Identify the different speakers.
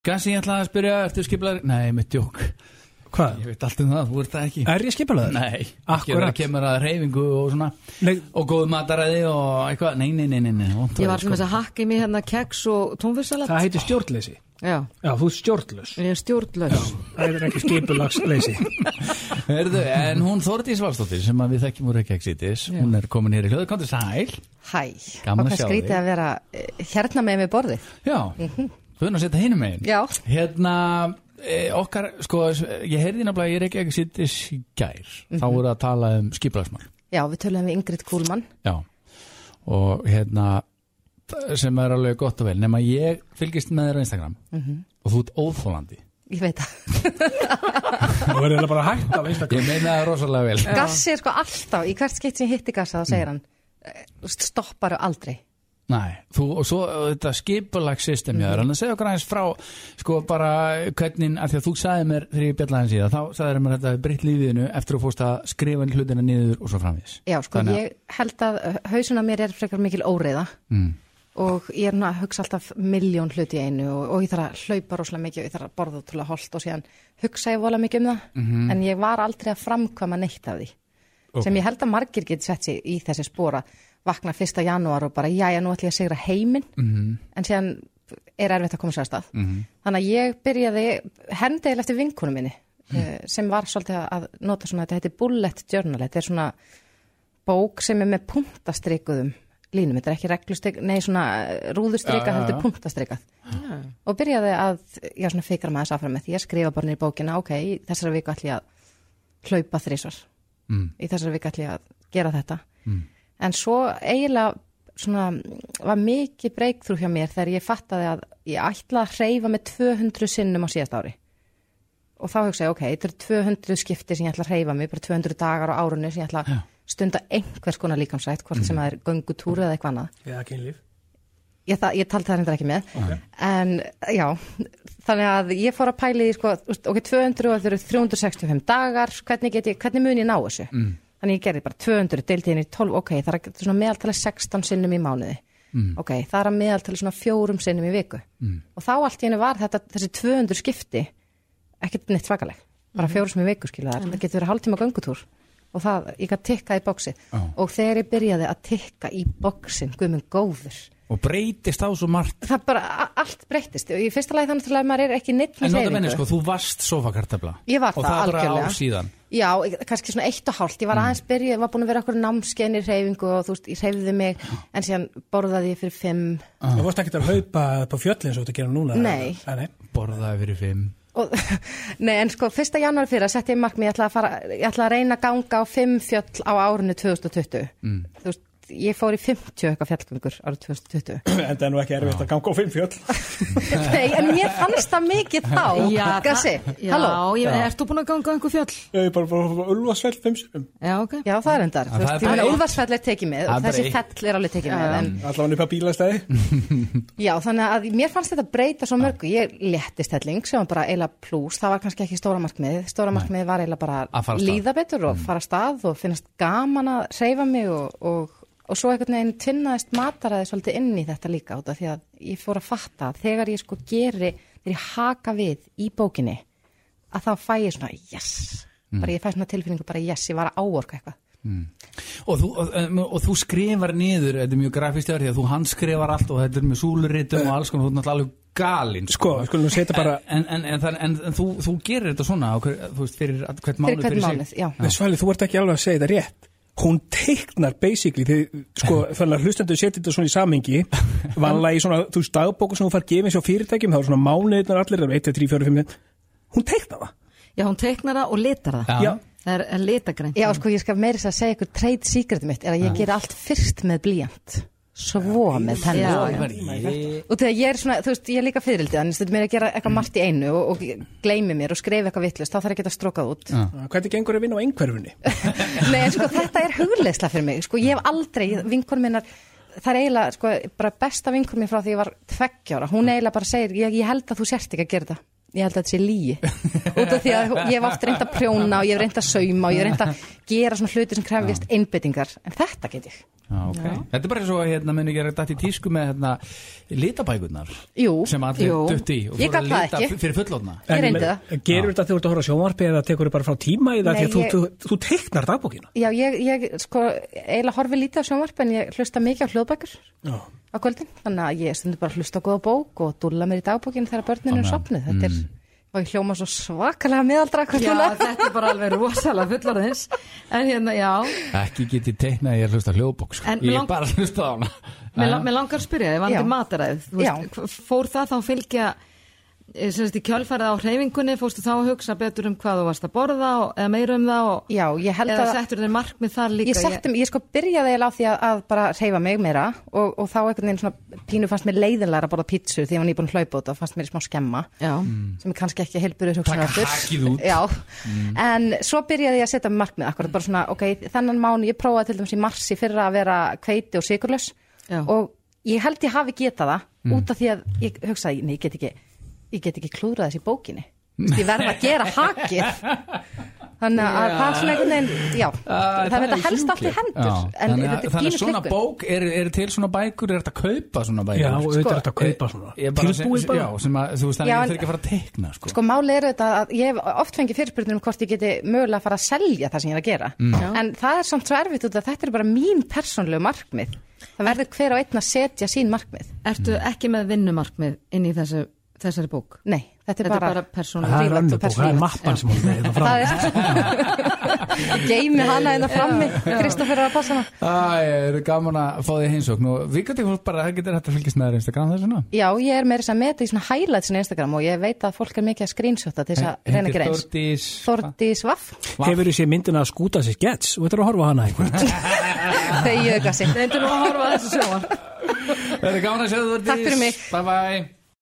Speaker 1: Gassi, ég ætlaði að spyrja, ertu skiplar? Nei, mitt djók.
Speaker 2: Hvað?
Speaker 1: Ég veit allt um það, þú ert það ekki.
Speaker 2: Er ég skipulaður?
Speaker 1: Nei, ekki
Speaker 2: Akkurat.
Speaker 1: verið að kemur að reyfingu og svona,
Speaker 2: Nei,
Speaker 1: og góðu mataræði og eitthvað. Nei, nei, nei, nei, nei. vont að vera
Speaker 3: Ég
Speaker 1: sko.
Speaker 3: var svona þess að hakka í mig hérna keks og tónfiskalat
Speaker 2: það heitir stjórnleysi.
Speaker 3: Já,
Speaker 2: Já, þú ert stjórnlaus.
Speaker 3: ég er stjórnlaus
Speaker 2: Það er ekki skipulagsleysi.
Speaker 1: sko. Heyrðu, en hún Þordís Valstóttir sem að við þekkjum úr ekki ekki sýtis, hún er komin hér í hljóðu, komdu sæl.
Speaker 4: Hæ,
Speaker 1: Gaman
Speaker 4: og
Speaker 1: að
Speaker 4: hvað
Speaker 1: sjá
Speaker 4: skrítið
Speaker 1: þig.
Speaker 4: að vera eh, hérna með mig borðið.
Speaker 1: Já,
Speaker 3: Mhm.
Speaker 1: þú erum að setja hinum megin
Speaker 4: Já.
Speaker 1: Hérna, eh, okkar, sko, ég heyrði náttúrulega, ég er ekki ekki sýttis í gær Þá
Speaker 3: Mhm.
Speaker 1: voru að tala um skiplagsmál
Speaker 4: Já, við töluðum við Ingrid Kúlmann.
Speaker 1: Já, og hérna, sem er alveg gott og vel Nefn að ég fylgist með þér á Instagram
Speaker 4: Mhm.
Speaker 1: Og þú ert óþólandi
Speaker 4: Ég veit það.
Speaker 2: Þú verður eiginlega bara hægt af einstaklega.
Speaker 1: Ég meina það rosalega vel
Speaker 4: Gassi er sko alltaf, í hvert skeitt sem ég hitti Gassa þá segir
Speaker 1: Mm.
Speaker 4: hann, eh, þú veist, stopparu aldrei.
Speaker 1: Nei, þú, og svo uh, þetta skipulagssystem mm -hmm.
Speaker 4: Mhm.
Speaker 1: en að segja okkur aðeins frá sko bara hvernig, af því að þú sagði mér þegar ég bjallaði hans í það, þá sagði mér þetta breytt lífiðinu eftir að fóst að skrifa hlutina niður og svo framvís
Speaker 4: Já, sko,
Speaker 1: Þannig að-
Speaker 4: ég held að eh, hausinn á mér er frekar mikil óreiða
Speaker 1: mm.
Speaker 4: og ég er hérna að hugsa alltaf miljón hluti í einu og, og ég þarf að hlaupa rosalega mikið og ég þarf að borða útrúlega holt og síðan hugsa ég vola mikið um það,
Speaker 1: Mhm.
Speaker 4: en ég var aldrei að framkvæma neitt af því. Sem ég held að margir getur sett sér í þessi spora, vakna 1. janúar og bara, já, já, nú ætlum ég að sigra heiminn,
Speaker 1: Mm. Mhm.
Speaker 4: en síðan er erfitt að koma sér að stað. Þannig að ég byrjaði hendeil eftir vinkunum minni, mm. sem var svolítið að- að nota svona, þetta heitir bullet journal, þetta er svona bók sem er með punktastrikuðum línum, þetta er ekki reglustrikk, nei svona eh,
Speaker 1: Já, já,
Speaker 4: rúðustrikað,
Speaker 1: já.
Speaker 4: heldur punktastrikað og byrjaði að, já svona fikra maður sáfram með því að skrifa bara niður í bókina, ok, í þessari viku ætlum ég að hlaupa þrísvar,
Speaker 1: Mm.
Speaker 4: í þessari viku ætlum ég að gera þetta en svo eiginlega svona var mikið breykþrú hjá mér þegar ég fattaði að ég ætla að hreyfa með 200 sinnum á síðast ári og þá hugsa ég, ok, þetta eru 200 skipti sem ég ætla að reyfa mig, bara 200 dagar á árunni sem ég ætla að stunda einhvers konar líkamsrætt, hvort sem það er göngutúru eða eitthvað annað.
Speaker 2: Eða kynlíf.
Speaker 4: Ég, það, ég taldi það reyndar ekki með, en já, þannig að ég fór að pæli því, sko, úst, ok, 200 og þetta eru 365 dagar, hvernig, get ég, hvernig mun ég ná þessu? Mm. Þannig ég gerði bara 200, deildi henni í 12, ok, það er að- svona meðaltali 16 sinnum í mánuði, mm. ok, það er að meðaltali svona fjórum sinnum í viku. Mm. Og þá allt í henni var þetta, þessi 200 skipti, ekkert neitt svakaleg bara fjórum sem í viku skilja það, það getur verið hálftíma göngutúr og það, ég gæti tikkað í bóksi og þegar ég byrjaði að tikka í bóksin, guðminn góður
Speaker 1: og breytist á svo margt
Speaker 4: það bara, a- allt breyttist og í fyrsta lagi þannig að maður er ekki neitt
Speaker 1: en
Speaker 4: með
Speaker 1: nota
Speaker 4: hreyfingu.
Speaker 1: menni sko, þú varst sofakartabla
Speaker 4: Ég var
Speaker 1: og
Speaker 4: það,
Speaker 1: það bara
Speaker 4: algjörlega.
Speaker 1: ár síðan
Speaker 4: Já, ég- kannski svona eitt og hálft, ég
Speaker 1: Mm.
Speaker 4: var aðeins byrjuð, var búin að vera okkur námskein í hreyfingu og þú veist, ég hreyfði mig en síðan borðaði ég fyrir fimm
Speaker 2: Þú vorst ekki að haupa upp á fjöllin svo þú ert að gera núna.
Speaker 4: Nei.
Speaker 2: Æ, nei.
Speaker 1: borðaði fyrir fimm
Speaker 4: og, Nei, en sko, fyrsta janúar fyrir að setja ég markmið, ég ætla að, fara, ég ætla að reyna að ganga á fimm fjöll á árinu 2020. Mm. Þú veist, ég fór í 50 eitthvað fjallgöngur árið 2020.
Speaker 2: En það er nú ekki erfitt að ganga á fimm fjöll.
Speaker 4: nei, en mér fannst það mikið þá,
Speaker 3: Já,
Speaker 4: Gassi,
Speaker 3: það- já,
Speaker 4: halló.
Speaker 3: ég, ert þú búin að ganga á einhver fjöll?
Speaker 2: Ég er bara búin að ulva svell fimm sinnum.
Speaker 3: Já, ok
Speaker 4: Já, það er
Speaker 1: Já,
Speaker 4: endar. Þú
Speaker 1: það er
Speaker 4: veist, ég meina,
Speaker 1: bara eitt.
Speaker 4: Úlfarsfell er tekið með
Speaker 1: Það
Speaker 4: og
Speaker 1: er bara
Speaker 4: þessi
Speaker 1: eitt.
Speaker 4: fell er alveg tekið með. En,
Speaker 2: Allavega upp að bílastæði.
Speaker 4: já, þannig að mér fannst þetta breyta svo mörgu. Ég léttist helling sem var bara eiginlega plús. Það var kannski ekki stóra markmið. Stóra markmið var eiginlega
Speaker 1: Að
Speaker 4: bara
Speaker 1: fara af
Speaker 4: að
Speaker 1: stað. Mm.
Speaker 4: líða betur og fara af stað og finnast gaman að reyfa mig og, og, og svo einhvern veginn tvinnaðist mataraði svolítið inn í þetta líka út af því að ég fór að fatta að þegar ég sko geri, þegar ég haka við í bókinni að þá fæ ég svona yes,
Speaker 1: Mm.
Speaker 4: bara ég fæ svona tilfinningu bara yes, ég var að áorka eitthvað.
Speaker 1: og þú, og, um, og þú skrifar niður þetta er mjög grafist hjá þér, því að þú handskrifar allt og þetta er með súluritum og alls konar þú er náttúrulega alveg galinn
Speaker 2: Sko, við skulum setja bara...
Speaker 1: en, en, en, en, en, en þú, þú gerir þetta svona á hver, þú veist, fyrir all- hvert mánuð
Speaker 4: Fyrir hvern mánuð, já.
Speaker 2: Nei, Svali, þú ert ekki alveg að segja þetta rétt hún teiknar basically því, sko, þannig að hlustendur setja þetta svona í samhengi vanlega í svona, þú veist, dagbóku sem hún fær gefið sér á fyrirtækjum, það er svona mánuðnar allir, það er 1, 2, 3, 4, 5, hún teiknar það
Speaker 3: Já, hún teiknar það og litar það
Speaker 1: Já.
Speaker 2: Já.
Speaker 3: Það er- er litagreint
Speaker 4: Já, sko, ég skal meira þess að segja ykkur trade secret mitt er að ég ger allt fyrst með blíjant svo með
Speaker 3: Já,
Speaker 4: penna
Speaker 3: já.
Speaker 1: Ég-
Speaker 4: og þegar ég er svona, þú veist, ég er líka fyririldið en stundum er að gera eitthvað margt í einu og, og gleymi mér og skrifa eitthvað vittlust, þá þarf ég að strókað út
Speaker 2: hvernig gengur að vinna á einhverfunni
Speaker 4: Nei, en sko, þetta er hugleisla fyrir mig sko, ég hef aldrei, vinkon minnar það er eiginlega, sko, bara besta vinkon minn frá því ég var tveggjára, hún eiginlega bara segir ég, ég held að þú sért ekki að gera þetta ég held að þetta sé líi út af því að ég hef oft reynd að prjóna og ég hef reynd að sauma og ég hef reynd að gera svona hluti sem krefjast einbyttingar en þetta get ég,
Speaker 1: Já, ok. Þetta er bara svo að hérna, meni ekki að dætt í tísku með hérna, litabækurnar
Speaker 4: jú,
Speaker 1: sem allir
Speaker 4: jú.
Speaker 1: dutt í og fóru
Speaker 4: ég gat
Speaker 1: að
Speaker 4: það
Speaker 1: lita
Speaker 4: ekki
Speaker 1: f- fyrir fullorna
Speaker 4: Ég
Speaker 2: En
Speaker 4: reyndi
Speaker 2: meina,
Speaker 4: það.
Speaker 2: Gerir þetta þegar þú ert að horfa á sjónvarpi eða tekur þú bara frá tíma í það
Speaker 4: Nei,
Speaker 2: því að þú,
Speaker 4: ég-
Speaker 2: þú, þú teiknar dagbókina?
Speaker 4: Já, ég, ég sko, eiginlega horfi lítið á sjónvarp en ég hlusta mikið á hljóðbækur
Speaker 2: Já.
Speaker 4: á kvöldin, þannig að ég stundur bara að hlusta á góða bók og dúlla mér í dagbókinu þegar börninu er
Speaker 1: Þannig að- Mm.
Speaker 4: sopnuð, þetta er og ég hljóma svo svakalega miðaldra hvað
Speaker 3: Já,
Speaker 4: dúlla
Speaker 3: þetta er bara alveg rosalega fullorðins En hérna, já
Speaker 1: Ekki get ég teiknað að ég er að hlusta á hljóðbók sko.
Speaker 3: En mig
Speaker 1: Ég er
Speaker 3: lang-
Speaker 1: bara að hlusta á hana
Speaker 3: Mér, la- mér langar að spyrja
Speaker 4: Já.
Speaker 3: þið, vandir mataræð Þú
Speaker 4: Já.
Speaker 3: veist, hv- Fór það þá fylgja eh, sem sagt í kjölfærið á hreyfingunni fórstu þá að hugsa betur um hvað þú varst að borða og, eða meira um það og,
Speaker 4: Já, ég held
Speaker 3: eða
Speaker 4: að-
Speaker 3: settur þér markmið þar líka
Speaker 4: Ég, settum, ég sko byrjaði eiginlega á því að, að bara reyfa mig meira og, og þá einhvern veginn svona pínu fannst mér leiðinlega að borða pítsu því að hún er búin að hlaupa út og fannst mér í smá skemma
Speaker 3: Já,
Speaker 4: sem er kannski ekki heilbyrður hugsan
Speaker 1: Taka hakið út. Mm.
Speaker 4: Já, en svo byrjaði ég að setja mér markmið akkurat bara svona, ok, þennan mánu ég prófaði til dæmis í marsi fyrir að vera kveiti og sigurlaus
Speaker 3: Já.
Speaker 4: og ég held ég hafi getað það
Speaker 1: Mm.
Speaker 4: út af því að ég hugsaði, nei, ég get ekki ég get ekki klúðrað þessi bókinni Þú veist, ég verð að gera hakið þannig að það er svona einhvern veginn já, það er þetta helst allt í hendur
Speaker 1: Já,
Speaker 4: en
Speaker 1: þannig, að-
Speaker 4: þetta er
Speaker 1: þannig
Speaker 4: pínu
Speaker 1: að svona
Speaker 4: klikkun.
Speaker 1: bók, er, er til svona bækur, er þetta að kaupa svona bækur?
Speaker 2: Já, og auðvitað er þetta að kaupa svona.
Speaker 1: Ég bara,
Speaker 2: Tilbúið bara.
Speaker 1: Já, sem að, þú veist, þannig
Speaker 4: Sko, Já,
Speaker 1: að ég
Speaker 4: en-
Speaker 1: þurfi ekki að fara að teikna sko.
Speaker 4: Sko máli er auðvitað að ég hef oft fengið fyrirspurnir um hvort ég geti mögulega að fara að selja það sem ég er að gera.
Speaker 1: Mm.
Speaker 4: En það er samt svo erfitt út að þetta er bara mín persónlegu markmið. Það verður hver og einn að setja sín markmið.
Speaker 3: Ertu ekki með vinnumarkmið inn í þessu, þessari bók?
Speaker 4: Nei, þetta er
Speaker 3: Þetta er
Speaker 4: bara,
Speaker 3: bara persónulegt.
Speaker 2: Það er
Speaker 4: prívat
Speaker 2: önnur
Speaker 4: og
Speaker 2: bók, það er
Speaker 4: persónulegt.
Speaker 2: mappan sem hún er hérna þetta frá.
Speaker 4: Það er geimi hana einn og frammi Kristoffer er að passa hana
Speaker 1: Æ, er gaman að fá því heimsókn og við gætum fólk bara, það getur hægt að fylgjast með þér Instagram þessu svona.
Speaker 4: Já, ég er meira þess að meta í svona highlights á Instagram og ég veit að fólk er mikið að screenshota til þess að reyna
Speaker 1: Heitir
Speaker 4: greins
Speaker 1: Þórdís
Speaker 4: Þordís Vaff,
Speaker 2: Hefur þú séð myndina að skúta sér gets og þetta er að horfa á hana einhvern.
Speaker 4: þau jögasi
Speaker 3: Reyndu nú að horfa að þessu sjóar
Speaker 1: Það er gaman að sjá þig, Þórdís
Speaker 4: Takk fyrir mig.
Speaker 1: Bye bye